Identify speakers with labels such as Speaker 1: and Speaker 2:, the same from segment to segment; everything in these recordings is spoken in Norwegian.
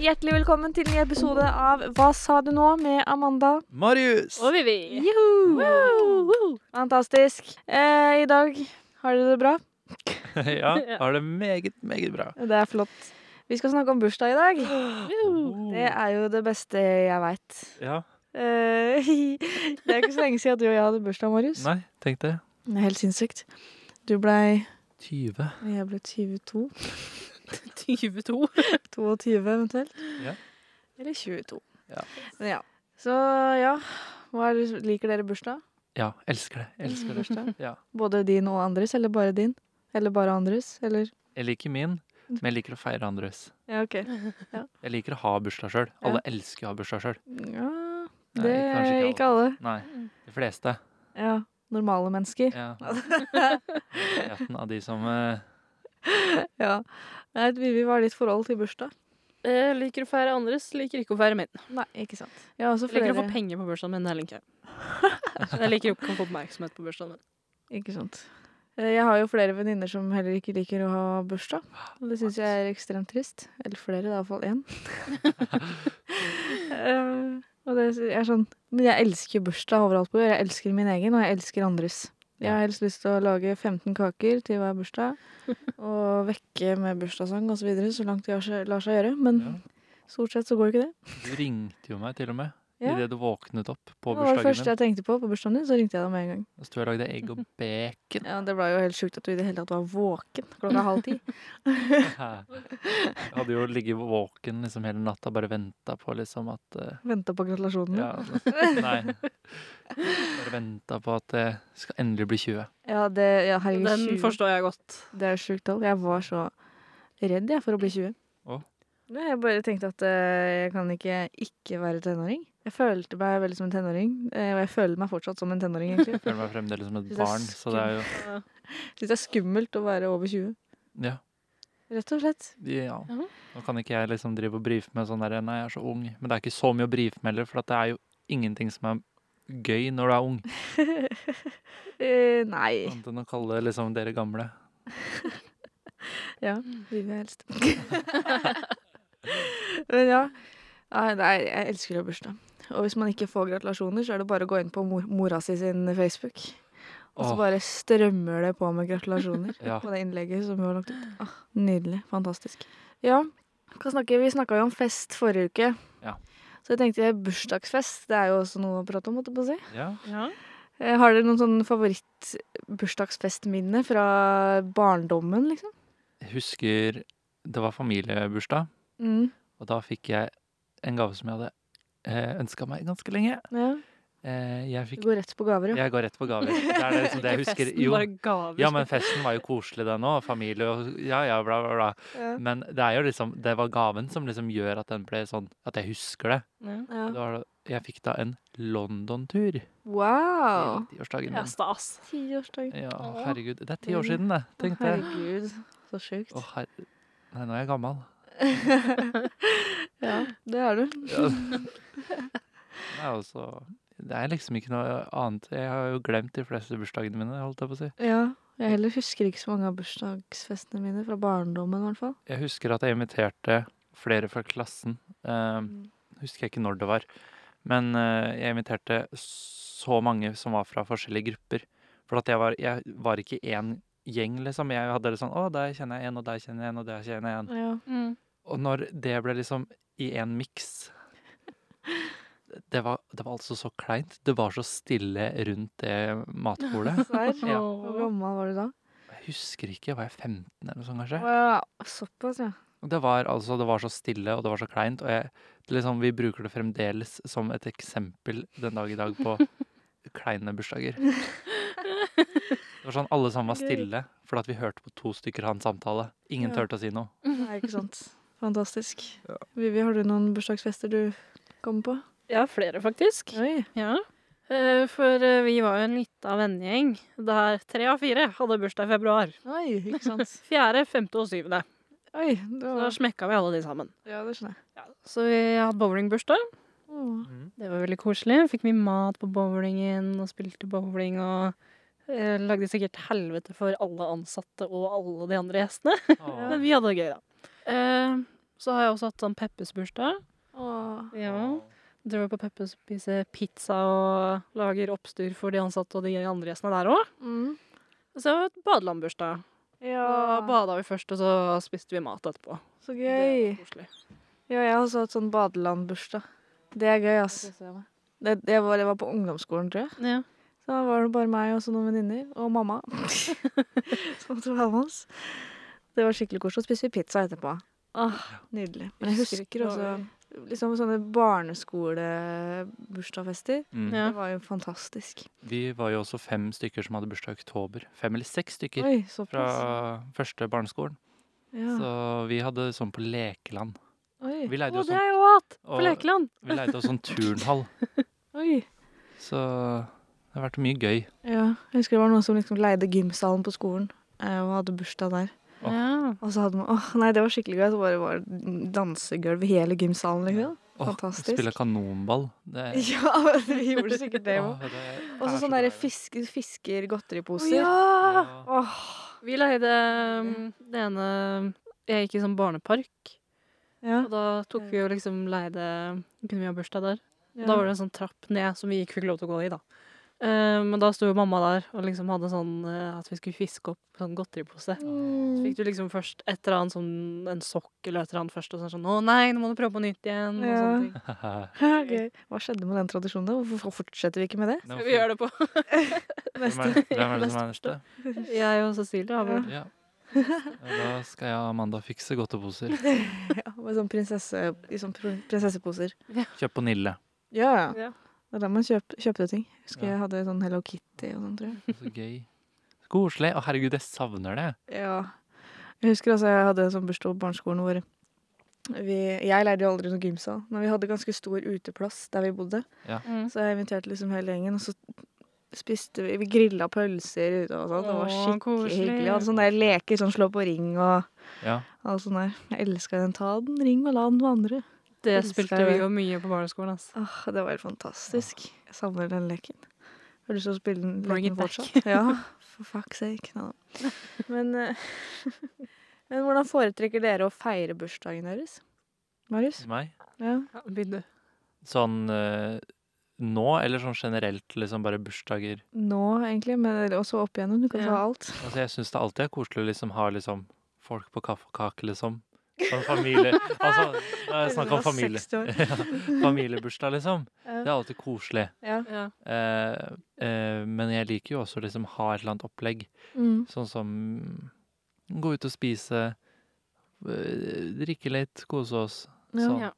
Speaker 1: Hjertelig velkommen til en ny episode av Hva sa du nå? med Amanda.
Speaker 2: Marius!
Speaker 3: Og Vivi.
Speaker 1: Juhu! Fantastisk. Eh, I dag har dere det bra?
Speaker 2: ja, har det meget, meget bra.
Speaker 1: Det er flott. Vi skal snakke om bursdag i dag.
Speaker 2: Oh,
Speaker 1: Det er jo det beste jeg veit.
Speaker 2: Ja,
Speaker 1: Eh, det er ikke så lenge siden at du og jeg hadde bursdag, Marius.
Speaker 2: nei, tenk det.
Speaker 1: Det er helt sinnssykt. Du blei
Speaker 2: 20.
Speaker 1: Jeg ble 22.
Speaker 3: 22.
Speaker 1: 22 eventuelt.
Speaker 2: Ja.
Speaker 1: Eller 22.
Speaker 2: Ja.
Speaker 1: Men ja. Så ja. Hva er, det- liker dere bursdag?
Speaker 2: Ja, elsker det. Elsker det.
Speaker 1: Bursdag?
Speaker 2: Ja.
Speaker 1: Både din og andres, eller bare din? Eller bare andres? Eller
Speaker 2: Jeg liker min, men jeg liker å feire andres.
Speaker 1: Ja, ok.
Speaker 2: Jeg liker å ha bursdag sjøl. Alle elsker å ha bursdag sjøl.
Speaker 1: Ja,
Speaker 2: Nei,
Speaker 1: det
Speaker 2: kanskje
Speaker 1: er
Speaker 2: ikke
Speaker 1: ikke alle.
Speaker 2: Nei, de fleste.
Speaker 1: Ja, normale mennesker.
Speaker 2: Ja. Majoriteten av de som eh,
Speaker 1: Ja. Nei, Vivi, hva er ditt forhold til bursdag?
Speaker 3: Eh, liker å feire andres, liker ikke å feire min.
Speaker 1: Nei, ikke sant. Jeg har også
Speaker 3: Liker
Speaker 1: flere.
Speaker 3: å få penger på bursdagen min, det liker jeg. Jeg liker jo ikke å få oppmerksomhet på bursdagen min.
Speaker 1: Ikke sant. Eh, Jeg har jo flere venninner som heller ikke liker å ha bursdag. og Det syns jeg er ekstremt trist. Eller flere, da, iallfall én. Eh, og det er sånn Men jeg elsker jo bursdag overalt på jord. Jeg elsker min egen, og jeg elsker andres. Jeg har helst lyst til å lage 15 kaker til hver bursdag. Og vekke med bursdagssang osv. Så, videre, så langt det lar seg- lar seg gjøre. Men
Speaker 2: ja.
Speaker 1: stort sett så går ikke det.
Speaker 2: Du ringte jo meg til og med
Speaker 1: Ja.
Speaker 2: idet du våknet opp på
Speaker 1: Det var det
Speaker 2: bursdagen
Speaker 1: første
Speaker 2: din.
Speaker 1: jeg tenkte på på bursdagen din, så ringte jeg deg med en gang.
Speaker 2: Og sto jeg og lagde egg og bacon.
Speaker 1: Ja, Det var jo helt sjukt at du i det hele tatt var våken klokka halv ti.
Speaker 2: Jeg hadde jo ligget våken liksom hele natta, bare venta på liksom at eh,
Speaker 1: Venta på gratulasjonene.
Speaker 2: Ja, nei. Bare venta på at det skal endelig bli 20.
Speaker 1: Ja, det, ja herregud,
Speaker 3: Den
Speaker 1: 20.
Speaker 3: forstår jeg godt.
Speaker 1: Det er et sjukt tall. Jeg var så redd jeg for å bli 20.
Speaker 2: Å?
Speaker 1: Nei, jeg bare tenkte at eh, jeg kan ikke ikke være tenåring. Jeg følte meg veldig som en tenåring, eh, og jeg føler meg fortsatt som en tenåring, egentlig.
Speaker 2: Jeg føler meg fremdeles som et
Speaker 1: Det er
Speaker 2: barn, så det er jo
Speaker 1: Syns det er skummelt å være over 20.
Speaker 2: ja,
Speaker 1: Rett og slett.
Speaker 2: ja. Nå kan ikke jeg liksom drive og brife med sånn der Nei, jeg er så ung. Men det er ikke så mye å brife med heller, for at det er jo ingenting som er gøy når du er ung.
Speaker 1: Eh, nei.
Speaker 2: Annet enn å kalle det liksom dere gamle.
Speaker 1: Ja, livet helst. Men ja. Nei, nei, jeg elsker å ha bursdag. Og hvis man ikke får gratulasjoner, så er det bare å gå inn på mor mora si sin Facebook. Og så
Speaker 2: Åh.
Speaker 1: bare strømmer det på med gratulasjoner
Speaker 2: Ja.
Speaker 1: på det innlegget som hun har lagt ut. Ah, nydelig. Fantastisk. Ja, hva snakker vi? Vi snakka jo om fest forrige uke.
Speaker 2: Ja.
Speaker 1: Så jeg tenkte bursdagsfest, det er jo også noe å prate om, måtte jeg på å si.
Speaker 2: Ja.
Speaker 3: Ja.
Speaker 1: Eh, Har dere noen sånn favoritt-bursdagsfestminne fra barndommen, liksom?
Speaker 2: Jeg husker det var familiebursdag,
Speaker 1: Mm.
Speaker 2: og da fikk jeg en gave som jeg hadde eh, ønska meg ganske lenge.
Speaker 1: Ja.
Speaker 2: Eh, jeg
Speaker 1: Du
Speaker 2: fikk
Speaker 1: går rett på gaver, jo.
Speaker 2: Jeg går rett på gaver. Det er det, liksom, det jeg
Speaker 3: Ikke
Speaker 2: husker.
Speaker 3: festen,
Speaker 2: Jo,
Speaker 3: bare gaver.
Speaker 2: Ja, men festen var jo koselig den òg. Familie og ja, ja, bla, bla, bla.
Speaker 1: Ja.
Speaker 2: Men det er jo liksom Det var gaven som liksom gjør at den ble sånn At jeg husker det.
Speaker 3: Ja.
Speaker 1: Ja.
Speaker 2: det var, jeg fikk da en London-tur i
Speaker 1: Wow!
Speaker 2: tiårsdagen
Speaker 3: Ja,
Speaker 2: min.
Speaker 3: stas.
Speaker 1: Tiårsdag.
Speaker 2: Ja,
Speaker 3: Å.
Speaker 2: herregud. Det er ti år siden, det. Tenk det.
Speaker 1: Herregud, så sjukt.
Speaker 2: Å, her... Nei, nå er jeg gammel.
Speaker 1: Ja, det er du.
Speaker 2: Ja. Det er jo så- Det er liksom ikke noe annet. Jeg har jo glemt de fleste bursdagene mine, holdt jeg på å si.
Speaker 1: Ja. Jeg heller husker ikke så mange av bursdagsfestene mine fra barndommen, i hvert fall.
Speaker 2: Jeg husker at jeg inviterte flere fra klassen. Eh,
Speaker 1: Mm.
Speaker 2: husker jeg ikke når det var. Men eh, jeg inviterte så mange som var fra forskjellige grupper. For at jeg var, jeg var ikke én gjeng, liksom. Jeg hadde det sånn Å, der kjenner jeg en, og der kjenner jeg en, og der kjenner jeg en.
Speaker 1: Ja.
Speaker 3: Mm.
Speaker 2: Og når det ble liksom i én miks det var, det var altså så kleint. Det var så stille rundt det matbordet.
Speaker 1: Serr?
Speaker 2: Ja.
Speaker 1: Hvor gammel var du da?
Speaker 2: Jeg husker ikke. Var jeg 15 eller noe sånt, kanskje?
Speaker 1: Wow, såpass, ja.
Speaker 2: Og Det var altså, det var så stille og det var så kleint, og jeg, det liksom, vi bruker det fremdeles som et eksempel den dag i dag på kleine bursdager. Det var sånn, alle sammen var
Speaker 1: Gøy.
Speaker 2: stille, fordi at vi hørte på to stykker ha en samtale. Ingen
Speaker 1: Ja.
Speaker 2: turte å si noe.
Speaker 1: Nei, ikke sant. Fantastisk. Vivi, har du noen bursdagsfester du kommer på?
Speaker 3: Jeg har flere, faktisk.
Speaker 1: Oi.
Speaker 3: Ja. Eh, For eh, vi var jo en lita vennegjeng der tre av fire hadde bursdag i februar.
Speaker 1: Oi, ikke sant.
Speaker 3: Fjerde, femte og syvende.
Speaker 1: Oi, det
Speaker 3: Så da
Speaker 1: var
Speaker 3: smekka vi alle de sammen.
Speaker 1: Ja, det skjønner jeg.
Speaker 3: Så vi hadde bowlingbursdag.
Speaker 1: Åh.
Speaker 3: Det var veldig koselig. Fikk mye mat på bowlingen og spilte bowling og eh, lagde sikkert helvete for alle ansatte og alle de andre gjestene.
Speaker 2: Åh.
Speaker 3: Men vi hadde det gøy, da. Eh, så har jeg også hatt sånn Peppes bursdag.
Speaker 1: Åh.
Speaker 3: Ja. Drar på Peppes og spiser pizza og lager oppstyr for de ansatte og de andre gjestene der òg.
Speaker 1: Mm.
Speaker 3: Så det var et badelandbursdag. Da
Speaker 1: Ja,
Speaker 3: bada vi først, og så spiste vi mat etterpå.
Speaker 1: så
Speaker 3: Det var
Speaker 1: gøy.
Speaker 3: koselig.
Speaker 1: Ja, jeg har også hatt sånn badelandbursdag. Det er gøy, ass. Det, det, var, det var på ungdomsskolen, tror jeg.
Speaker 3: Ja.
Speaker 1: Så da var det bare meg og så noen venninner. Og mamma. som tog hånd om oss. Det var skikkelig koselig. Så spiste vi pizza etterpå. Åh, nydelig. Men jeg
Speaker 3: Ah, Husker
Speaker 1: husker
Speaker 3: ikke hva
Speaker 1: også
Speaker 3: vi-
Speaker 1: liksom sånne barneskolebursdagsfester.
Speaker 2: Mm.
Speaker 3: Ja.
Speaker 1: Det var jo fantastisk.
Speaker 2: Vi var jo også fem stykker som hadde bursdag i oktober. Fem eller seks stykker
Speaker 1: Oi,
Speaker 2: fra
Speaker 1: såpass.
Speaker 2: første barneskolen.
Speaker 1: Ja.
Speaker 2: Så vi hadde sånn på lekeland.
Speaker 1: Oi.
Speaker 2: Vi
Speaker 3: Å,
Speaker 2: leide jo
Speaker 3: det
Speaker 2: sånn,
Speaker 3: har jeg òg hatt! På
Speaker 2: og-
Speaker 3: Lekeland.
Speaker 2: vi leide oss sånn turnhall.
Speaker 1: Oi.
Speaker 2: Så det har vært mye gøy.
Speaker 1: Ja, jeg husker det var noen som liksom leide gymsalen på skolen eh, og hadde bursdag der.
Speaker 2: Åh.
Speaker 3: Ja.
Speaker 1: Og så hadde man, åh nei, det var skikkelig gøy. Så bare var det dansegulv i hele gymsalen, liksom.
Speaker 2: Åh,
Speaker 1: Fantastisk.
Speaker 2: Spille kanonball. Det,
Speaker 1: Ja, vi gjorde sikkert det òg.
Speaker 2: åh, det er
Speaker 1: Og så sånn
Speaker 2: så
Speaker 1: sånne der
Speaker 2: deilig.
Speaker 1: fiske,
Speaker 3: Å,
Speaker 1: fiskergodteriposer. Ah!
Speaker 3: ja!
Speaker 2: Ja.
Speaker 1: Åh,
Speaker 3: Vi leide um, det ene Jeg gikk i sånn barnepark,
Speaker 1: ja.
Speaker 3: og da tok vi jo liksom leide Kunne vi ha bursdag der? Da var det en sånn trapp ned som vi ikke fikk lov til å gå i, da. Eh, men da sto jo mamma der og liksom hadde sånn eh, at vi skulle fiske opp sånn godteripose. Så
Speaker 1: Mm.
Speaker 3: fikk du liksom først et eller annet sånn en sokk eller et eller annet først, og så er det sånn 'Å nei, nå må du prøve på nytt igjen', og
Speaker 1: Ja.
Speaker 3: sånne ting.
Speaker 1: Gøy. Hva skjedde med den tradisjonen? da? Hvorfor fortsetter vi ikke med det?
Speaker 2: Nå-
Speaker 3: Vi gjør det på.
Speaker 2: Hvem er, hvem er det som er neste?
Speaker 3: Jeg og Cecilie har vel
Speaker 2: Ja. Da skal jeg og Amanda fikse godteposer.
Speaker 1: Ja, med sånn prinsesse, i sånn pr- prinsesseposer.
Speaker 2: Kjøp på Nille.
Speaker 1: Ja, ja.
Speaker 3: Ja.
Speaker 1: Det er da man kjøp, kjøpte ting. Husker
Speaker 2: Ja.
Speaker 1: jeg hadde sånn Hello Kitty og sånn, tror jeg.
Speaker 2: Så gøy. Så Koselig. Å, herregud, jeg savner det.
Speaker 1: Ja. Jeg husker altså jeg hadde en sånn bursdag på barneskolen hvor vi, jeg leide jo aldri noen gymsal, men vi hadde ganske stor uteplass der vi bodde.
Speaker 3: mm.
Speaker 1: Så jeg inviterte liksom hele gjengen, og så spiste vi Vi grilla pølser ute og sånn. Det var
Speaker 3: Åh,
Speaker 1: skikkelig
Speaker 3: koselig.
Speaker 1: hyggelig. Jeg hadde sånne der leker, sånn slå på ring og
Speaker 2: Ja.
Speaker 1: alt sånt der. Jeg elska den. Ta den, ring og la den vandre.
Speaker 3: Det
Speaker 1: Elsker
Speaker 3: spilte
Speaker 1: det.
Speaker 3: vi jo mye på barneskolen, altså. ass.
Speaker 1: Åh, det var helt fantastisk. Jeg savner den leken. Har du lyst til å spille den
Speaker 3: Bring
Speaker 1: leken
Speaker 3: it back.
Speaker 1: fortsatt? Ja, for fuck's sake. Nei da. Men, eh, men hvordan foretrekker dere å feire bursdagen deres? Marius?
Speaker 2: Til meg.
Speaker 1: Ja.
Speaker 3: Ja, Begynn du.
Speaker 2: Sånn eh, nå, eller sånn generelt, liksom bare bursdager.
Speaker 1: Nå, egentlig, men også opp igjennom. Du kan ta
Speaker 3: Ja.
Speaker 1: alt.
Speaker 2: Altså, jeg syns det alltid er koselig å liksom ha liksom folk på kaffekake, liksom. Sånn familie Altså, da er det snakk om familie.
Speaker 1: 60 år.
Speaker 2: Ja, familiebursdag, liksom. Det er
Speaker 1: Ja.
Speaker 2: alltid koselig.
Speaker 1: Ja.
Speaker 3: Ja.
Speaker 2: Eh, eh, men jeg liker jo også å liksom ha et eller annet opplegg.
Speaker 1: Mm.
Speaker 2: Sånn som gå ut og spise, eh, drikke litt, kose oss.
Speaker 1: Ja.
Speaker 2: Sånn,
Speaker 3: Ja.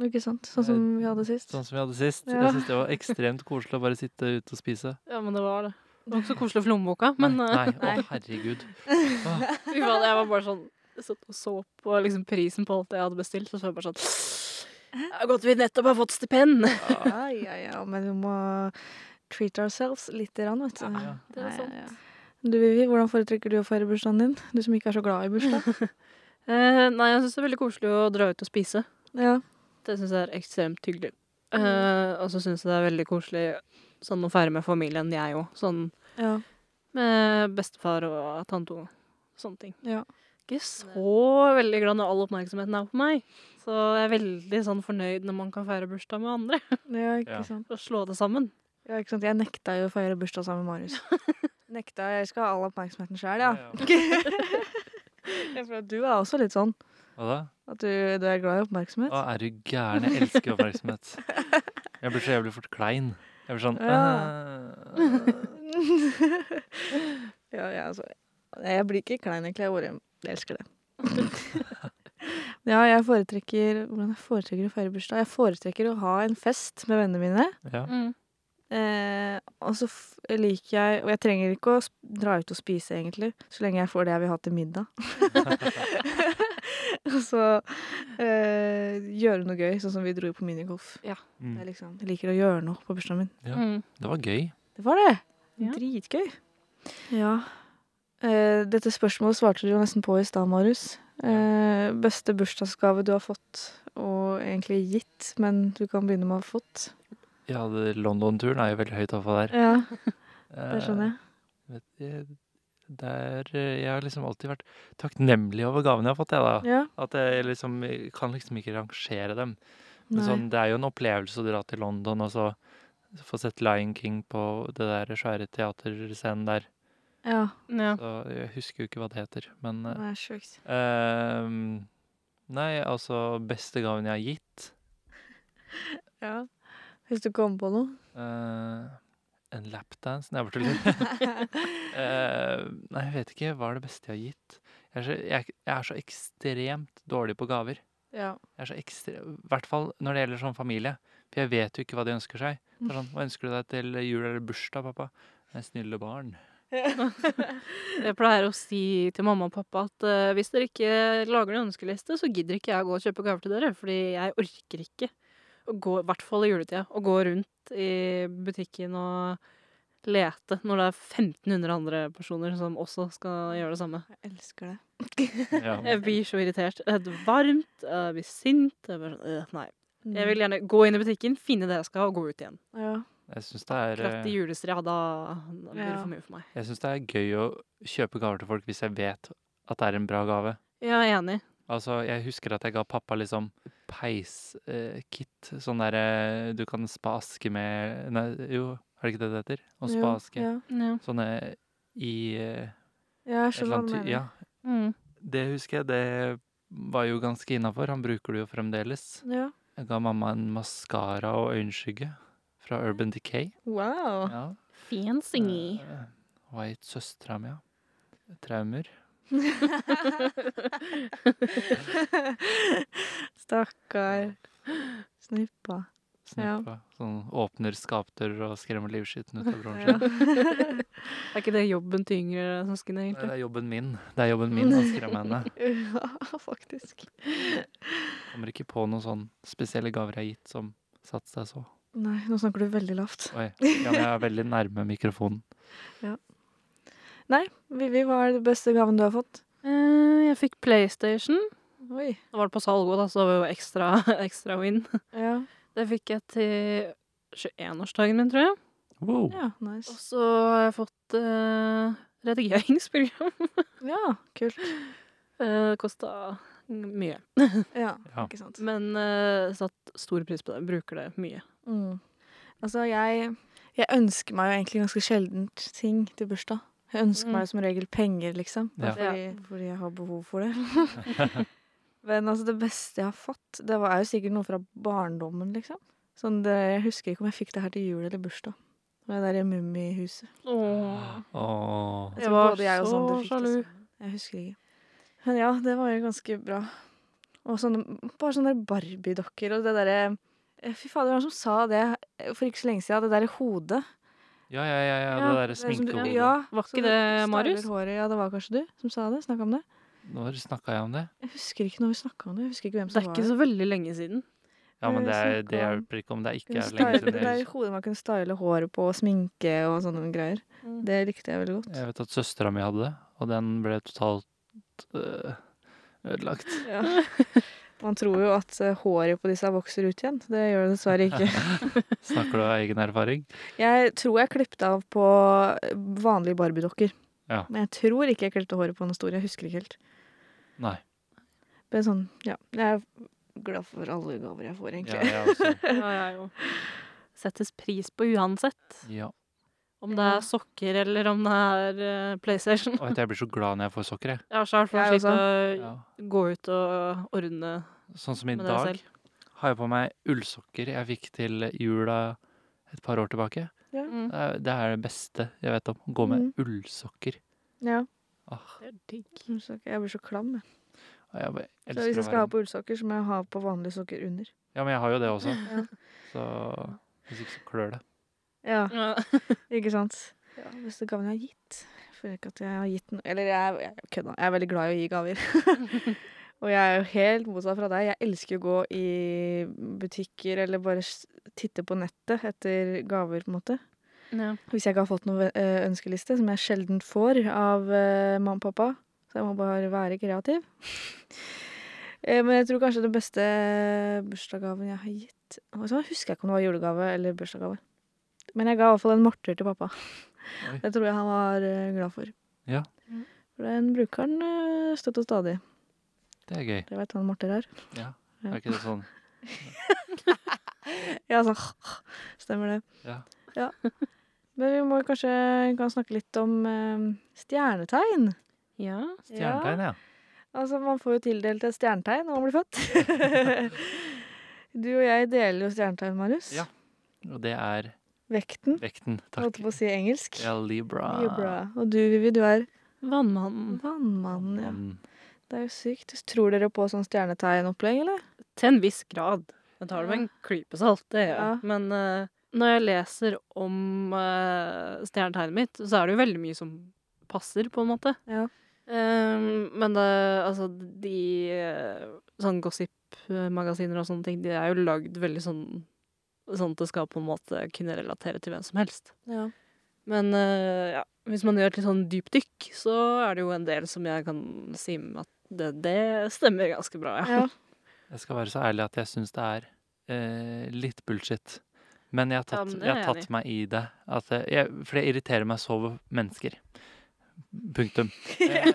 Speaker 1: Ikke sant? Sånn som vi hadde sist.
Speaker 2: sånn som vi hadde sist.
Speaker 1: Ja.
Speaker 2: Jeg syns det var ekstremt koselig å bare sitte ute og spise.
Speaker 3: ja, men det var det. Det var ikke så koselig for lommeboka, men
Speaker 2: nei,
Speaker 3: eh,
Speaker 2: nei,
Speaker 1: nei.
Speaker 2: Å, herregud.
Speaker 3: Fy faen, jeg var bare sånn Satt og så på liksom prisen på alt jeg hadde bestilt, og så var jeg bare sånn Det er godt vi nettopp har fått stipend!
Speaker 1: Ja, ja, ja. Men vi må treat ourselves lite grann, vet du.
Speaker 2: Ja,
Speaker 3: det sånn. er
Speaker 1: Ja, ja,
Speaker 3: sant.
Speaker 1: ja. Du, Vivi, hvordan foretrekker du å feire bursdagen din? Du som ikke er så glad i bursdag.
Speaker 3: Eh, nei, jeg syns det er veldig koselig å dra ut og spise.
Speaker 1: Ja.
Speaker 3: Det syns jeg er ekstremt hyggelig. Eh, og så syns jeg det er veldig koselig sånn å feire med familien, jeg òg. Sånn
Speaker 1: ja.
Speaker 3: med bestefar og tante og sånne ting.
Speaker 1: Ja.
Speaker 3: Ikke så veldig glad når all oppmerksomheten er på meg. Så jeg er veldig sånn fornøyd når man kan feire bursdag med andre.
Speaker 1: Ja, ikke
Speaker 2: Ja.
Speaker 1: sant.
Speaker 3: Og slå det sammen.
Speaker 1: Ja, ikke sant. Jeg nekta jo å feire bursdag sammen med Marius. nekta, Jeg skal ha all oppmerksomheten sjøl, ja. Jeg føler at Du er også litt sånn.
Speaker 2: Hva da?
Speaker 1: At du, du er glad i oppmerksomhet.
Speaker 2: Å, er du gæren? Jeg elsker oppmerksomhet. Jeg blir så jævlig fort klein. Jeg blir sånn «Øh».
Speaker 1: ja, ja, altså. Nei, Jeg blir ikke klein, egentlig. Jeg bare jeg elsker det. ja, jeg foretrekker Hvordan jeg foretrekker å feire bursdag? Jeg foretrekker å ha en fest med vennene mine.
Speaker 2: Ja.
Speaker 3: Mm,
Speaker 1: Eh, og så f liker jeg Og jeg trenger ikke å sp- dra ut og spise, egentlig, så lenge jeg får det jeg vil ha til middag. Og så eh, gjøre noe gøy, sånn som vi dro på minigolf.
Speaker 2: Mm.
Speaker 1: Jeg, liksom, jeg liker å gjøre noe på bursdagen min.
Speaker 2: Ja.
Speaker 3: Mm.
Speaker 2: Det var gøy.
Speaker 1: Det var det.
Speaker 3: Ja.
Speaker 1: Dritgøy. Ja. Eh, dette spørsmålet svarte du jo nesten på i stad, Marius. Eh, beste bursdagsgave du har fått, og egentlig gitt, men du kan begynne med å ha fått.
Speaker 2: Ja, det- London-turen er jo veldig høyt oppe der.
Speaker 1: Ja,
Speaker 2: Eh,
Speaker 1: det skjønner jeg.
Speaker 2: Vet, jeg, der, eh, jeg har liksom alltid vært takknemlig over gavene jeg har fått. Jeg, da.
Speaker 1: Ja,
Speaker 2: At jeg liksom jeg kan liksom ikke rangere dem. Men
Speaker 1: nei.
Speaker 2: sånn, det er jo en opplevelse å dra til London og så få sett Lion King på det der svære teaterscenen der.
Speaker 1: Ja,
Speaker 3: Ja.
Speaker 2: Så jeg husker jo ikke hva det heter, men eh,
Speaker 1: det er sjukt.
Speaker 2: ehm, Nei, altså Beste gaven jeg har gitt
Speaker 1: Ja. Hvis du kom på noe.
Speaker 2: eh, En lapdance? Nei, jeg bare tuller. Eh, nei, jeg vet ikke. Hva er det beste jeg har gitt? Jeg er så, jeg, jeg er så ekstremt dårlig på gaver.
Speaker 1: ja.
Speaker 2: Jeg er så ekstre... I hvert fall når det gjelder sånn familie. For jeg vet jo ikke hva de ønsker seg. Det er sånn, Hva ønsker du deg til jul eller bursdag, pappa? En snille barn.
Speaker 3: Jeg pleier å si til mamma og pappa at eh, hvis dere ikke lager en ønskeliste, så gidder ikke jeg å gå og kjøpe gaver til dere, fordi jeg orker ikke å gå, i hvert fall i juletida, å gå rundt i butikken og lete når det er 1500 andre personer som også skal gjøre det samme.
Speaker 1: Jeg elsker det.
Speaker 2: Ja.
Speaker 3: Jeg blir så irritert. Jeg blir varmt, jeg blir sint. Jeg, blir sånn, øh, nei. jeg vil
Speaker 1: ja.
Speaker 3: gjerne gå inn i butikken, finne det jeg skal, og gå ut igjen.
Speaker 1: Mm.
Speaker 2: Jeg syns det, er,
Speaker 3: Akkurat i
Speaker 2: eh,
Speaker 3: julestria, da, da blir det
Speaker 1: Ja.
Speaker 3: for mye for meg.
Speaker 2: jeg synes det er gøy å kjøpe gaver til folk hvis jeg vet at det er en bra gave.
Speaker 3: Jeg er enig.
Speaker 2: Altså, Jeg husker at jeg ga pappa liksom peiskit. Eh, kit, sånn derre du kan spa aske med Nei, jo, er det ikke det det heter? Å
Speaker 1: Jo,
Speaker 2: spa aske.
Speaker 1: Ja.
Speaker 3: Ja.
Speaker 2: Sånne i
Speaker 1: ja,
Speaker 2: eh,
Speaker 1: jeg
Speaker 2: et eller
Speaker 1: skjønner hva du
Speaker 2: annet ty-
Speaker 1: mener.
Speaker 2: Ja,
Speaker 3: Mm.
Speaker 2: Det husker jeg, det var jo ganske innafor. Han bruker det jo fremdeles.
Speaker 1: Ja.
Speaker 2: Jeg ga mamma en maskara og øyenskygge fra Urban Decay.
Speaker 1: Wow.
Speaker 2: Ja.
Speaker 3: Fancy.
Speaker 2: Eh, Hun har gitt søstera mi, ja. Traumer.
Speaker 1: Stakkar. Snippa.
Speaker 2: Snippa. Sånn åpner skapdører og skremmer livskiten ut av broren sin.
Speaker 1: Ja.
Speaker 3: Eh, Er ikke det jobben til yngre søsken,
Speaker 2: Nei,
Speaker 1: Eh.
Speaker 3: egentlig?
Speaker 2: Det er jobben min. Det er jobben min å skremme henne.
Speaker 1: ja, faktisk.
Speaker 2: Kommer ikke på noen sånn spesielle gaver jeg har gitt som satte seg så.
Speaker 1: Nei, nå snakker du veldig lavt.
Speaker 2: Oi. Ja, men jeg er veldig nærme mikrofonen.
Speaker 1: Vivi, hva er den beste gaven du har fått?
Speaker 3: Eh, Jeg fikk PlayStation.
Speaker 1: Oi.
Speaker 3: Da var det på salg òg, da, så det var jo ekstra, ekstra win.
Speaker 1: Ja,
Speaker 3: Det fikk jeg til 21-årsdagen min, tror jeg.
Speaker 2: Wow.
Speaker 1: ja
Speaker 3: Og
Speaker 1: nice.
Speaker 3: så har jeg fått eh, redigeringsprogram.
Speaker 1: Ja, kult.
Speaker 3: Uh, Kosta mye.
Speaker 1: Ja,
Speaker 2: Ja.
Speaker 1: ikke sant.
Speaker 3: Men uh, satt stor pris på det. Bruker det mye.
Speaker 1: Mm. Altså, jeg, jeg ønsker meg jo egentlig ganske sjeldent ting til bursdag. Jeg ønsker
Speaker 3: Mm.
Speaker 1: meg som regel penger, liksom.
Speaker 2: Ja.
Speaker 1: Fordi, fordi jeg har behov for det. Men altså, det beste jeg har fått, det var er jo sikkert noe fra barndommen, liksom. Sånn det, jeg husker ikke om jeg fikk det her til jul eller bursdag. Det var det der mummihuset.
Speaker 3: Åh.
Speaker 2: Åh.
Speaker 1: Jeg tror både jeg og Sander fikk det Jeg husker ikke. Men ja, det var jo ganske bra. Og sånne, bare sånne der Barbie-dokker og det derre eh, Fy fader, hvem var det som sa det eh, for ikke så lenge siden? Det derre hodet.
Speaker 2: Ja, ja, ja, ja, det
Speaker 3: Ja,
Speaker 1: Det
Speaker 2: derre
Speaker 1: er som du-
Speaker 2: sminkehodet.
Speaker 1: Ja,
Speaker 3: Var
Speaker 1: så
Speaker 3: ikke
Speaker 1: du
Speaker 3: det
Speaker 1: styler
Speaker 3: Marius?
Speaker 1: Håret. Ja, det var kanskje du som sa det? Snakka om det?
Speaker 2: Når snakka jeg om det?
Speaker 1: Jeg husker ikke når vi snakka om det. Jeg husker ikke hvem
Speaker 3: Det
Speaker 1: som
Speaker 3: er
Speaker 1: var
Speaker 3: ikke så veldig lenge siden.
Speaker 2: Ja,
Speaker 1: Eh,
Speaker 2: men det, er,
Speaker 1: snakket
Speaker 2: det
Speaker 1: om-
Speaker 2: hjelper ikke om det ikke
Speaker 1: Kunne
Speaker 2: er lenge
Speaker 1: style,
Speaker 2: siden.
Speaker 1: det der
Speaker 2: Jeg,
Speaker 1: hodet man kunne style håret på, og sminke og sånne greier.
Speaker 3: Mm.
Speaker 1: Det likte jeg veldig godt.
Speaker 2: jeg vet at søstera mi hadde det, og den ble totalt øh, ødelagt.
Speaker 1: Ja. Man tror jo at eh, håret på disse vokser ut igjen. Det gjør det dessverre ikke.
Speaker 2: Snakker du av egen erfaring?
Speaker 1: Jeg tror jeg klippet av på eh, vanlige Barbie-dokker.
Speaker 2: Ja.
Speaker 1: Men jeg tror ikke jeg klippet håret på den store. Jeg husker ikke helt.
Speaker 2: Nei.
Speaker 1: Men sånn, ja. Jeg er glad for alle gaver jeg får,
Speaker 2: Ja,
Speaker 1: egentlig.
Speaker 2: jeg også.
Speaker 3: Ja, jeg jo. Settes pris på uansett.
Speaker 2: Ja.
Speaker 3: Om det
Speaker 1: Ja.
Speaker 3: er sokker eller om det er eh, PlayStation.
Speaker 2: Og vet du, jeg blir så glad når jeg får sokker, jeg.
Speaker 3: Jeg har sjøl
Speaker 1: Jeg
Speaker 3: slitt å
Speaker 2: Ja.
Speaker 3: gå ut og ordne
Speaker 2: Sånn som i
Speaker 3: med det
Speaker 2: dag
Speaker 3: selv.
Speaker 2: har jeg på meg ullsokker jeg fikk til jula et par år tilbake.
Speaker 3: Mm.
Speaker 2: Det er- det er det beste jeg vet om. å Gå med
Speaker 1: Mm.
Speaker 2: ullsokker.
Speaker 1: Ja.
Speaker 2: Ah,
Speaker 3: Det er digg.
Speaker 1: Ullsokker. Jeg blir så klam. Jeg.
Speaker 2: og jeg bare
Speaker 1: Så
Speaker 2: elsker
Speaker 1: hvis
Speaker 2: å
Speaker 1: jeg skal
Speaker 2: være
Speaker 1: ha på ullsokker, så må jeg ha på vanlige sokker under.
Speaker 2: Ja, men jeg har jo det også.
Speaker 1: Ja.
Speaker 2: Så hvis ikke så klør det.
Speaker 1: Ja,
Speaker 3: Ja.
Speaker 1: ikke sant? Ja, Beste gaven jeg har gitt. Jeg føler ikke at jeg har gitt noe Eller jeg, jeg kødda. Jeg er veldig glad i å gi gaver. Og jeg er jo helt motsatt fra deg. Jeg elsker å gå i butikker eller bare s- titte på nettet etter gaver, på en måte.
Speaker 3: Ja.
Speaker 1: Hvis jeg ikke har fått noen ve- eh, ønskeliste, som jeg sjelden får av eh, mamma og pappa, så jeg må bare være kreativ. Eh, Men jeg tror kanskje den beste eh, bursdagsgaven jeg har gitt Og Så husker jeg ikke om det var julegave eller bursdagsgave. Men jeg ga i hvert fall en morter til pappa.
Speaker 2: Oi.
Speaker 1: Det tror jeg han var eh, glad for.
Speaker 2: Ja.
Speaker 3: Mm.
Speaker 1: For den bruker han eh, støtt og stadig.
Speaker 2: Det er gøy.
Speaker 1: Det vet han morter er.
Speaker 2: Ja.
Speaker 1: Ja.
Speaker 2: Er ikke det sånn
Speaker 1: Ja, sånn Stemmer det.
Speaker 2: Ja.
Speaker 1: Ja. Men vi må kanskje kan snakke litt om eh, stjernetegn.
Speaker 3: ja.
Speaker 1: Ja.
Speaker 2: stjernetegn, ja.
Speaker 1: Altså, man får jo tildelt et stjernetegn når man blir født. du og jeg deler jo stjernetegn, Marius.
Speaker 2: Ja. Og det er
Speaker 1: Vekten.
Speaker 2: vekten.
Speaker 1: Jeg
Speaker 2: Takk.
Speaker 1: holdt på å si engelsk.
Speaker 2: Ja, Libra.
Speaker 1: Libra. Og du, Vivi, du er Mm.
Speaker 3: Vannmannen.
Speaker 1: vannmannen. Ja.
Speaker 2: Mm.
Speaker 1: Det er jo sykt. Tror dere på sånn stjernetegnopplegg, eller?
Speaker 3: Til en viss grad. Jeg tar det med en klype salt, det gjør
Speaker 1: Ja.
Speaker 3: jeg. Men eh, når jeg leser om eh, stjernetegnet mitt, så er det jo veldig mye som passer, på en måte.
Speaker 1: Ja.
Speaker 3: Ehm, men det, altså, de eh, sånn gossip-magasiner og sånne ting, de er jo lagd veldig sånn sånn at det skal på en måte kunne relatere til hvem som helst.
Speaker 1: Ja.
Speaker 3: Men eh, ja, hvis man gjør et litt sånn dypdykk, så er det jo en del som jeg kan si med at det, det stemmer ganske bra, ja.
Speaker 1: ja.
Speaker 2: Jeg skal være så ærlig at jeg syns det er eh, litt bullshit. Men jeg har
Speaker 3: Ja,
Speaker 2: tatt,
Speaker 3: men det
Speaker 2: jeg
Speaker 3: er
Speaker 2: har
Speaker 3: jeg enig
Speaker 2: tatt meg i det. At eh, jeg, jeg, for det irriterer meg så over mennesker. Punktum. Eh,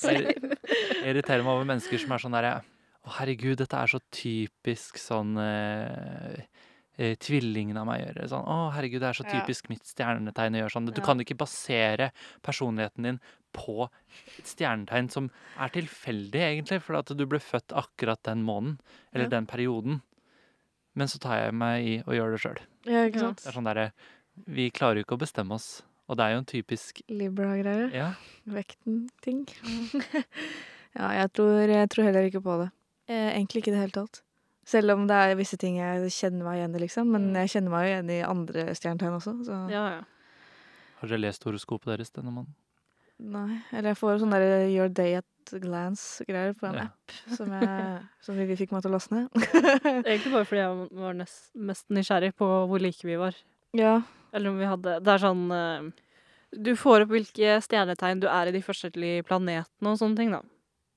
Speaker 2: Jeg irriterer meg over mennesker som er sånn derre Å, herregud, dette er så typisk sånn eh, eh, Tvillingen av meg gjør sånn. Å, herregud, det er så
Speaker 1: Ja.
Speaker 2: typisk mitt stjernetegn å gjøre sånn. Du
Speaker 1: Ja.
Speaker 2: kan ikke basere personligheten din på et stjernetegn som er tilfeldig, egentlig, for at du ble født akkurat den måneden, eller
Speaker 1: Ja.
Speaker 2: den perioden. Men så tar jeg meg i å gjøre det sjøl.
Speaker 1: ja, ikke sant?
Speaker 2: Det er sånn derre Vi klarer jo ikke å bestemme oss. Og det er jo en typisk
Speaker 1: Libra-greier.
Speaker 2: Ja.
Speaker 1: Vekten-ting. ja, jeg tror, jeg tror heller ikke på det. Eh, egentlig ikke i det hele tatt. Selv om det er visse ting jeg kjenner meg igjen i, liksom. Men
Speaker 3: Mm.
Speaker 1: jeg kjenner meg jo igjen i andre stjernetegn også. Så
Speaker 3: Ja, ja.
Speaker 2: Har dere lest horoskopet deres denne måneden?
Speaker 1: nei. Eller jeg får sånn der Your Day at Glance-greier på en
Speaker 2: Ja.
Speaker 1: app som, jeg, som vi fikk meg til å laste ned.
Speaker 3: Egentlig bare fordi jeg var nes- mest nysgjerrig på hvor like vi var.
Speaker 1: ja.
Speaker 3: Eller om vi hadde Det er sånn eh, Du får opp hvilke stjernetegn du er i de forskjellige planetene og sånne ting, da.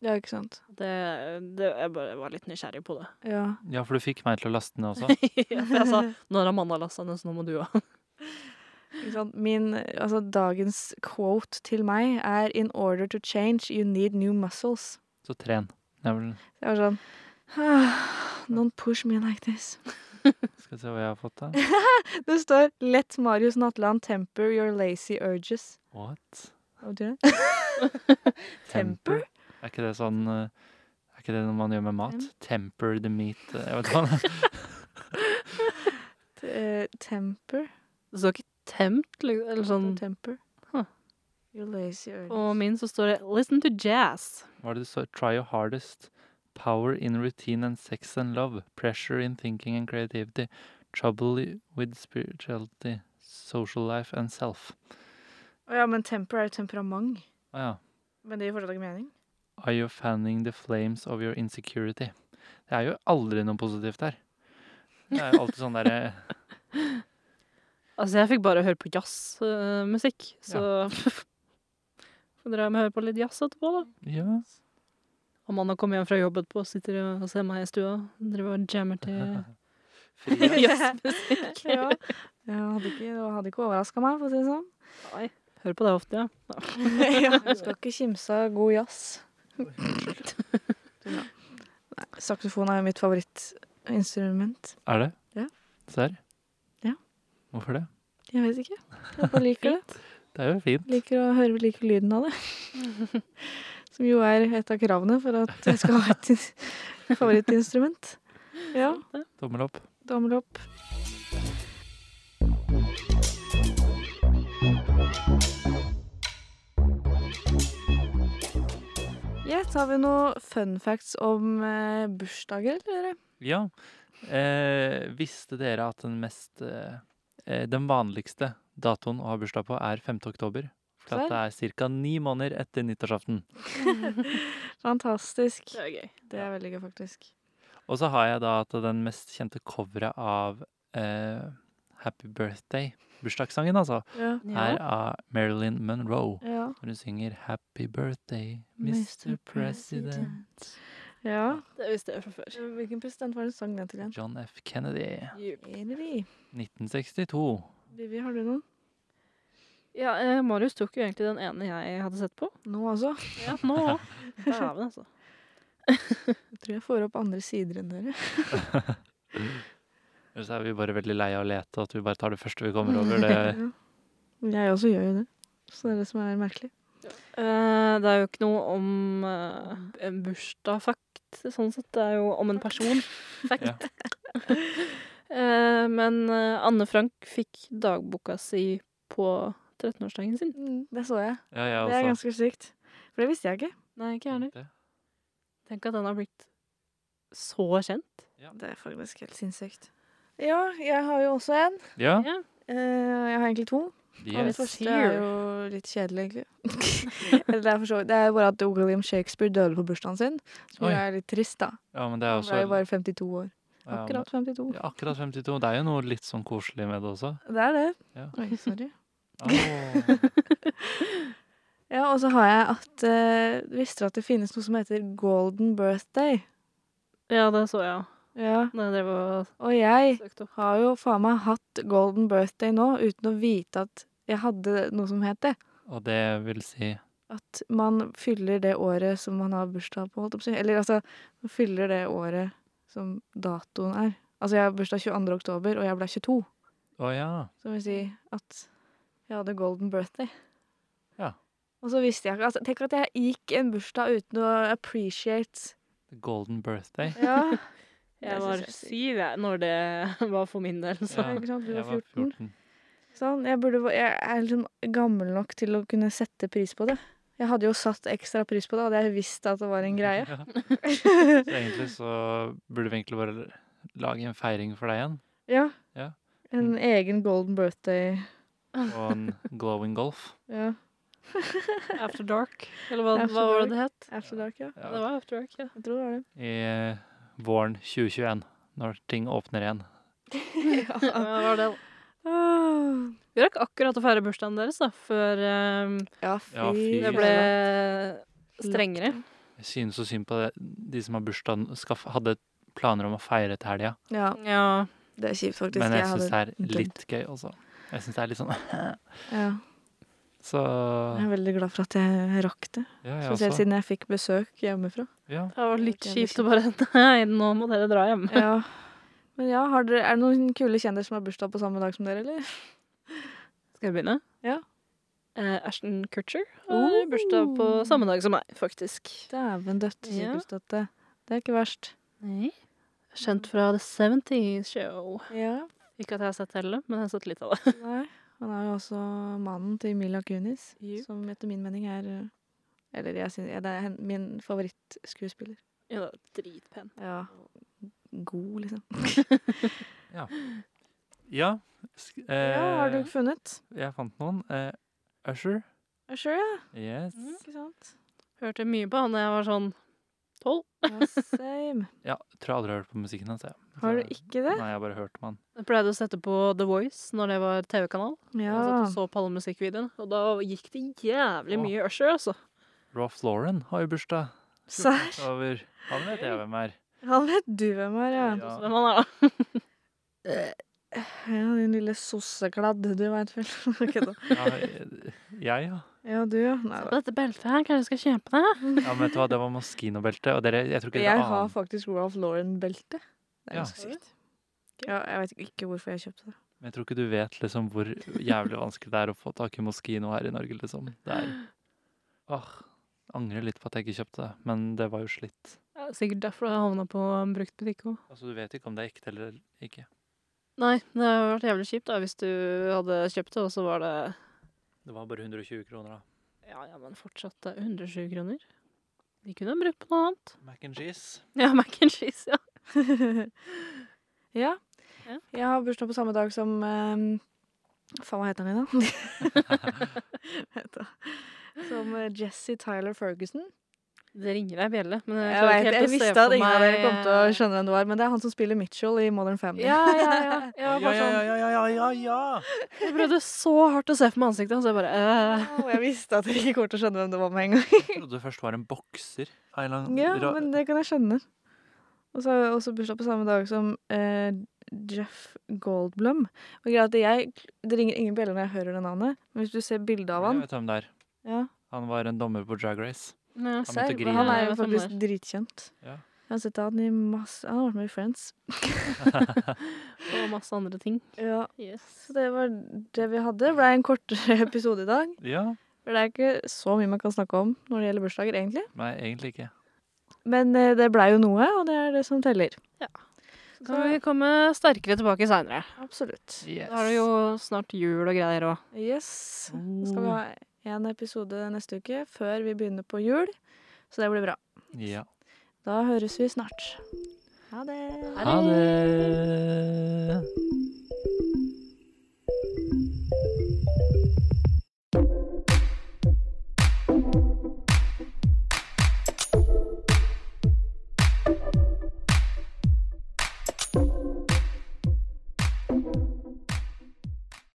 Speaker 1: ja, ikke sant.
Speaker 3: Det, det, jeg bare var litt nysgjerrig på det.
Speaker 1: Ja.
Speaker 2: Ja, for du fikk meg til å laste ned også.
Speaker 3: For jeg sa 'Nå har Amanda lasta ned, så nå må du òg'.
Speaker 1: Ikke sant? Min, altså, dagens quote til meg er In order to change, you need new muscles.
Speaker 2: Så tren. Det er vel
Speaker 1: Jeg var sånn «Ah, Don't push me like this.
Speaker 2: Skal vi se hva jeg har fått, da.
Speaker 1: Det står 'Let Marius Natland temper your lazy urges'.
Speaker 2: What?
Speaker 1: Hva betyr det? Temper?
Speaker 2: Er ikke det sånn eh, Er ikke det noe man gjør med mat? Temper the meat eh, Jeg vet ikke hva.
Speaker 1: T- eh, temper?
Speaker 3: Det står ikke 'tempt', liksom, eller sånn.
Speaker 1: Det står temper.
Speaker 3: Huh.
Speaker 1: Your lazy urges.
Speaker 3: På min så står det 'listen to jazz'.
Speaker 2: Hva er det det står? Try your hardest. Power in routine and sex and love. Pressure in thinking and creativity. Trouble with spirituality. Social life and self.
Speaker 1: Å ja, men temper er jo temperament.
Speaker 2: Å ja.
Speaker 1: Men det gir fortsatt ikke mening.
Speaker 2: Are you fanning the flames of your insecurity? Det er jo aldri noe positivt her. Det er jo alltid sånn derre
Speaker 3: Altså, jeg fikk bare høre på jazzmusikk, så Får dere med å høre på litt jazz etterpå, da.
Speaker 2: Ja.
Speaker 3: Amanda kom hjem fra jobb etterpå og sitter og ser meg i stua. Driver og jammer til
Speaker 2: Fria.
Speaker 3: jazzmusikk.
Speaker 1: Ja. Det hadde ikke, det hadde ikke overraska meg, for å si det sånn.
Speaker 3: Nei, Hører på det ofte, ja.
Speaker 1: ja. Du skal ikke kimse av god jazz. Nei, saksofon er jo mitt favorittinstrument.
Speaker 2: Er det?
Speaker 1: Ja.
Speaker 2: Serr?
Speaker 1: Ja.
Speaker 2: Hvorfor det?
Speaker 1: Jeg vet ikke. Jeg bare liker det.
Speaker 2: Det er jo fint.
Speaker 1: Liker å høre liker lyden av det. Som jo er et av kravene for at jeg skal ha et in- favorittinstrument. Ja,
Speaker 2: Tommel opp.
Speaker 1: tommel opp. Yes, har vi noen fun facts om eh, bursdager, eller?
Speaker 2: Ja. Eh, visste dere at den mest eh, eh, Den vanligste datoen å ha bursdag på er 5. oktober? For at det er ca. ni måneder etter nyttårsaften.
Speaker 1: Fantastisk.
Speaker 3: Det er gøy.
Speaker 1: Det er veldig gøy, faktisk.
Speaker 2: Og så har jeg da at den mest kjente coveret av eh, Happy Birthday, bursdagssangen altså,
Speaker 1: Ja.
Speaker 2: er av Marilyn Monroe.
Speaker 1: Ja.
Speaker 2: Hvor hun synger Happy Birthday, Mr. President.
Speaker 1: ja.
Speaker 3: Det visste jeg fra før.
Speaker 1: Hvilken president var det du sang den til igjen?
Speaker 2: John F. Kennedy.
Speaker 1: Kennedy.
Speaker 2: 1962.
Speaker 1: Vivi, har du noen?
Speaker 3: Ja, eh, Marius tok jo egentlig den ene jeg hadde sett på.
Speaker 1: Nå altså?
Speaker 3: Ja, nå òg. Dæven, altså.
Speaker 1: Jeg tror jeg får opp andre sider enn dere.
Speaker 2: Ellers er vi bare veldig lei av å lete, at vi bare tar det første vi kommer over. Det,
Speaker 1: Ja. Jeg også gjør jo det. Så det er det som er merkelig.
Speaker 3: Eh, det er jo ikke noe om eh, en bursdag, fakt, sånn sett. Det er jo om en person. Fact. Eh, men eh, Anne Frank fikk dagboka si på 13-årsdagen sin.
Speaker 1: Det så jeg.
Speaker 2: ja, jeg
Speaker 1: Det er
Speaker 2: også.
Speaker 1: ganske sykt. For det visste jeg ikke.
Speaker 3: Nei, ikke jeg heller.
Speaker 2: Det.
Speaker 3: Tenk at den har blitt så kjent.
Speaker 1: Det er faktisk helt sinnssykt. Ja, jeg har jo også en.
Speaker 2: Ja,
Speaker 1: Eh, jeg har egentlig to. Og den
Speaker 2: yes.
Speaker 1: første er jo litt kjedelig, egentlig. Eller det, er for så, vidt- det er bare at William Shakespeare døde på bursdagen sin, som
Speaker 2: Oi.
Speaker 1: jo er litt trist, da.
Speaker 2: Ja, men det er
Speaker 1: Han
Speaker 2: også
Speaker 1: ble jo bare 52 år.
Speaker 2: ja, men-
Speaker 1: Akkurat 52.
Speaker 2: Ja, akkurat 52. Det er jo noe litt sånn koselig med det også.
Speaker 1: Det er det.
Speaker 2: Ja.
Speaker 1: Oi, sorry.
Speaker 2: Åh,
Speaker 1: Ja, og så har jeg at eh, Visste dere at det finnes noe som heter golden birthday?
Speaker 3: Ja, det så jeg.
Speaker 1: Ja.
Speaker 3: Når jeg drev og
Speaker 1: Og jeg
Speaker 3: søkte opp.
Speaker 1: har jo faen meg hatt golden birthday nå uten å vite at jeg hadde noe som het det.
Speaker 2: og det vil si
Speaker 1: At man fyller det året som man har bursdag på, holdt jeg på å si. Eller altså, man fyller det året som datoen er. Altså, jeg har bursdag 22. oktober, og jeg ble 22.
Speaker 2: Å ja.
Speaker 1: Som vil si at jeg hadde golden birthday.
Speaker 2: Ja.
Speaker 1: Og så visste jeg ikke altså, Tenk at jeg gikk en bursdag uten å appreciate
Speaker 2: Golden birthday.
Speaker 1: Ja,
Speaker 3: Jeg
Speaker 1: Det
Speaker 3: var
Speaker 1: synes jeg
Speaker 3: syv jeg, når det var for min del. Så.
Speaker 2: Ja,
Speaker 1: ikke sant, du
Speaker 2: jeg
Speaker 1: var 14.
Speaker 2: 14.
Speaker 1: sånn. Jeg, burde, jeg er liksom gammel nok til å kunne sette pris på det. Jeg hadde jo satt ekstra pris på det, hadde jeg visst at det var en greie.
Speaker 2: Ja. Så egentlig så burde vi egentlig bare lage en feiring for deg igjen.
Speaker 1: Ja.
Speaker 2: Ja.
Speaker 1: En
Speaker 2: Mm.
Speaker 1: egen golden birthday.
Speaker 2: Og en glowing golf.
Speaker 1: Ja.
Speaker 3: After Dark, eller hva,
Speaker 1: After
Speaker 3: hva var
Speaker 1: Dark.
Speaker 3: det det het?
Speaker 1: After dark, ja.
Speaker 3: Det
Speaker 2: Ja,
Speaker 3: var After Dark, ja.
Speaker 1: Jeg tror det var det.
Speaker 2: I eh, våren 2021, når ting åpner igjen.
Speaker 3: ja det var det.
Speaker 1: Åh.
Speaker 3: Vi rakk akkurat å feire bursdagen deres da, før eh,
Speaker 1: Ja, fy,
Speaker 2: Ja, fy.
Speaker 3: det
Speaker 2: Det
Speaker 3: ble
Speaker 1: faen.
Speaker 3: strengere.
Speaker 2: Jeg synes så synd på det. de som har bursdag, skal, f- hadde planer om å feire til helga.
Speaker 1: Ja,
Speaker 3: Ja.
Speaker 1: det er kjipt, faktisk.
Speaker 2: Men jeg syns
Speaker 1: hadde-
Speaker 2: det er
Speaker 1: dømt.
Speaker 2: litt gøy også. Jeg syns det er litt sånn
Speaker 1: ja.
Speaker 2: Så
Speaker 1: Jeg er veldig glad for at jeg rakk det.
Speaker 2: ja, jeg
Speaker 1: Spesielt
Speaker 2: også.
Speaker 1: siden jeg fikk besøk hjemmefra.
Speaker 2: Ja.
Speaker 3: Det var litt
Speaker 1: Det var
Speaker 3: kjipt å bare Nei, nå må dere dra hjem.
Speaker 1: Ja. Men ja, har dere, er det noen kule kjendiser som har bursdag på samme dag som dere, eller?
Speaker 3: Skal jeg begynne?
Speaker 1: Ja.
Speaker 3: Eh, Ashton Kutcher har
Speaker 1: Oh.
Speaker 3: bursdag på samme dag som meg, faktisk.
Speaker 1: Dæven døtte,
Speaker 3: Ja.
Speaker 1: sykehusdøtte. Det er ikke verst.
Speaker 3: Kjent fra The 70's Show.
Speaker 1: Ja.
Speaker 3: Ikke at jeg har sett det heller, men jeg har sett litt av det.
Speaker 1: Nei. Han er jo også mannen til Mila Kunis,
Speaker 3: Jo.
Speaker 1: som etter min mening er eh, Eller jeg synes, ja, det er hen- min favorittskuespiller.
Speaker 3: Ja, det er dritpen.
Speaker 1: Ja. God, liksom.
Speaker 2: ja. Sk eh,
Speaker 1: Ja, har du funnet?
Speaker 2: Jeg fant noen. Eh, Usher.
Speaker 1: Ja, Sure, ja.
Speaker 2: Yes.
Speaker 1: Ikke sant?
Speaker 3: Hørte mye på han da jeg var sånn tolv.
Speaker 1: Ja, same.
Speaker 2: Ja, tror jeg aldri har hørt på musikken hans. jeg.
Speaker 1: Har du
Speaker 2: Så-
Speaker 1: ikke det?
Speaker 2: Nei, jeg har bare hørt om han.
Speaker 3: Jeg pleide å sette på The Voice når det var TV-kanal. Jeg
Speaker 1: Ja.
Speaker 3: satt og så på alle musikkvideoene, og da gikk det jævlig
Speaker 1: Ah.
Speaker 2: Åh.
Speaker 3: mye Usher, altså.
Speaker 2: Rolf Lauren har jo bursdag.
Speaker 1: Serr?
Speaker 2: Over. Han vet jeg hvem er.
Speaker 1: Han vet du hvem er, ja.
Speaker 2: Ja.
Speaker 3: Hvem han er, da?
Speaker 1: Ja, din lille sossekladd. Du veit vel. Ok, da.
Speaker 2: Ja, jeg, ja.
Speaker 1: Ja, du, ja. Nei, da.
Speaker 3: Dette beltet her, kanskje jeg skal kjøpe det?
Speaker 2: ja. Men vet du hva, det var moskinobelte, og dere, jeg tror ikke
Speaker 1: Jeg
Speaker 2: dere
Speaker 1: har
Speaker 2: aner.
Speaker 1: faktisk Ralph Lauren-belte. Det er
Speaker 2: Ja.
Speaker 1: ganske sykt. Ja, jeg vet ikke hvorfor jeg kjøpte det.
Speaker 2: Men jeg tror ikke du vet liksom hvor jævlig vanskelig det er å få tak i moskino her i Norge, liksom. Det er Åh. Angrer litt på at jeg ikke kjøpte det, men det var jo slitt.
Speaker 3: Ja, sikkert derfor jeg havna på en bruktbutikk òg.
Speaker 2: Altså, Du vet ikke om det er ekte eller ikke.
Speaker 3: Nei, det hadde vært jævlig kjipt da, hvis du hadde kjøpt det, og så var det
Speaker 2: Det var bare 120 kroner, da.
Speaker 3: Ja, ja, men fortsatt eh, det er 120 kroner. De kunne ha brukt på noe annet.
Speaker 2: Mac and cheese.
Speaker 3: Ja, mac and cheese, ja.
Speaker 1: ja.
Speaker 3: Ja.
Speaker 1: Jeg har bursdag på samme dag som eh, Faen, hva heter han igjen, da? Vet du. Som eh, Jesse Tyler Ferguson.
Speaker 3: Det ringer ei bjelle, men jeg,
Speaker 1: Jeg,
Speaker 3: klarer
Speaker 1: vet, jeg
Speaker 3: ikke helt å se
Speaker 1: visste
Speaker 3: for
Speaker 1: at ingen av
Speaker 3: meg-
Speaker 1: dere
Speaker 3: eh,
Speaker 1: kom til å skjønne hvem det var, men det er han som spiller Mitchell i Modern Family.
Speaker 3: Ja, ja, ja. Jeg var
Speaker 2: Ja,
Speaker 3: bare
Speaker 2: ja,
Speaker 3: sånn
Speaker 2: ja, ja, ja, ja, ja.
Speaker 3: Jeg prøvde så hardt å se for meg ansiktet, og så jeg bare øh.
Speaker 1: Åh, jeg visste at dere ikke kommer til å skjønne hvem det var med en gang.
Speaker 2: Jeg trodde først det var en bokser. av en eller annen
Speaker 1: Ja,
Speaker 2: ra-
Speaker 1: men det kan jeg skjønne. Og så har jeg også bursdag på samme dag som eh, Jeff Goldblum. Og greia er at jeg, Det ringer ingen bjeller når jeg hører det navnet, men hvis du ser bildet av
Speaker 2: Jeg
Speaker 1: han
Speaker 2: vet hvem det er.
Speaker 1: ja,
Speaker 2: Han var en dommer på Drag Race.
Speaker 3: Ja.
Speaker 2: Han
Speaker 1: serr,
Speaker 2: måtte grine.
Speaker 1: men han er
Speaker 3: Jeg
Speaker 1: jo
Speaker 3: vet hvem
Speaker 1: faktisk
Speaker 3: det
Speaker 1: dritkjent.
Speaker 2: Ja.
Speaker 1: Jeg har sett han i masse Han har vært med i Friends.
Speaker 3: Og masse andre ting.
Speaker 1: Ja,
Speaker 3: Yes.
Speaker 1: så det var det vi hadde. Det ble en kortere episode i dag.
Speaker 2: Ja,
Speaker 1: For det er ikke så mye man kan snakke om når det gjelder bursdager, egentlig.
Speaker 2: Nei, egentlig ikke.
Speaker 1: Men eh, det blei jo noe, og det er det som teller.
Speaker 3: Så kan vi komme sterkere tilbake seinere.
Speaker 1: Absolutt.
Speaker 2: Yes.
Speaker 3: Da er det jo snart jul og greier òg.
Speaker 1: Yes. Så skal vi ha én episode neste uke før vi begynner på jul, så det blir bra.
Speaker 2: Ja.
Speaker 1: Da høres vi snart. Ha det.
Speaker 2: Ha det!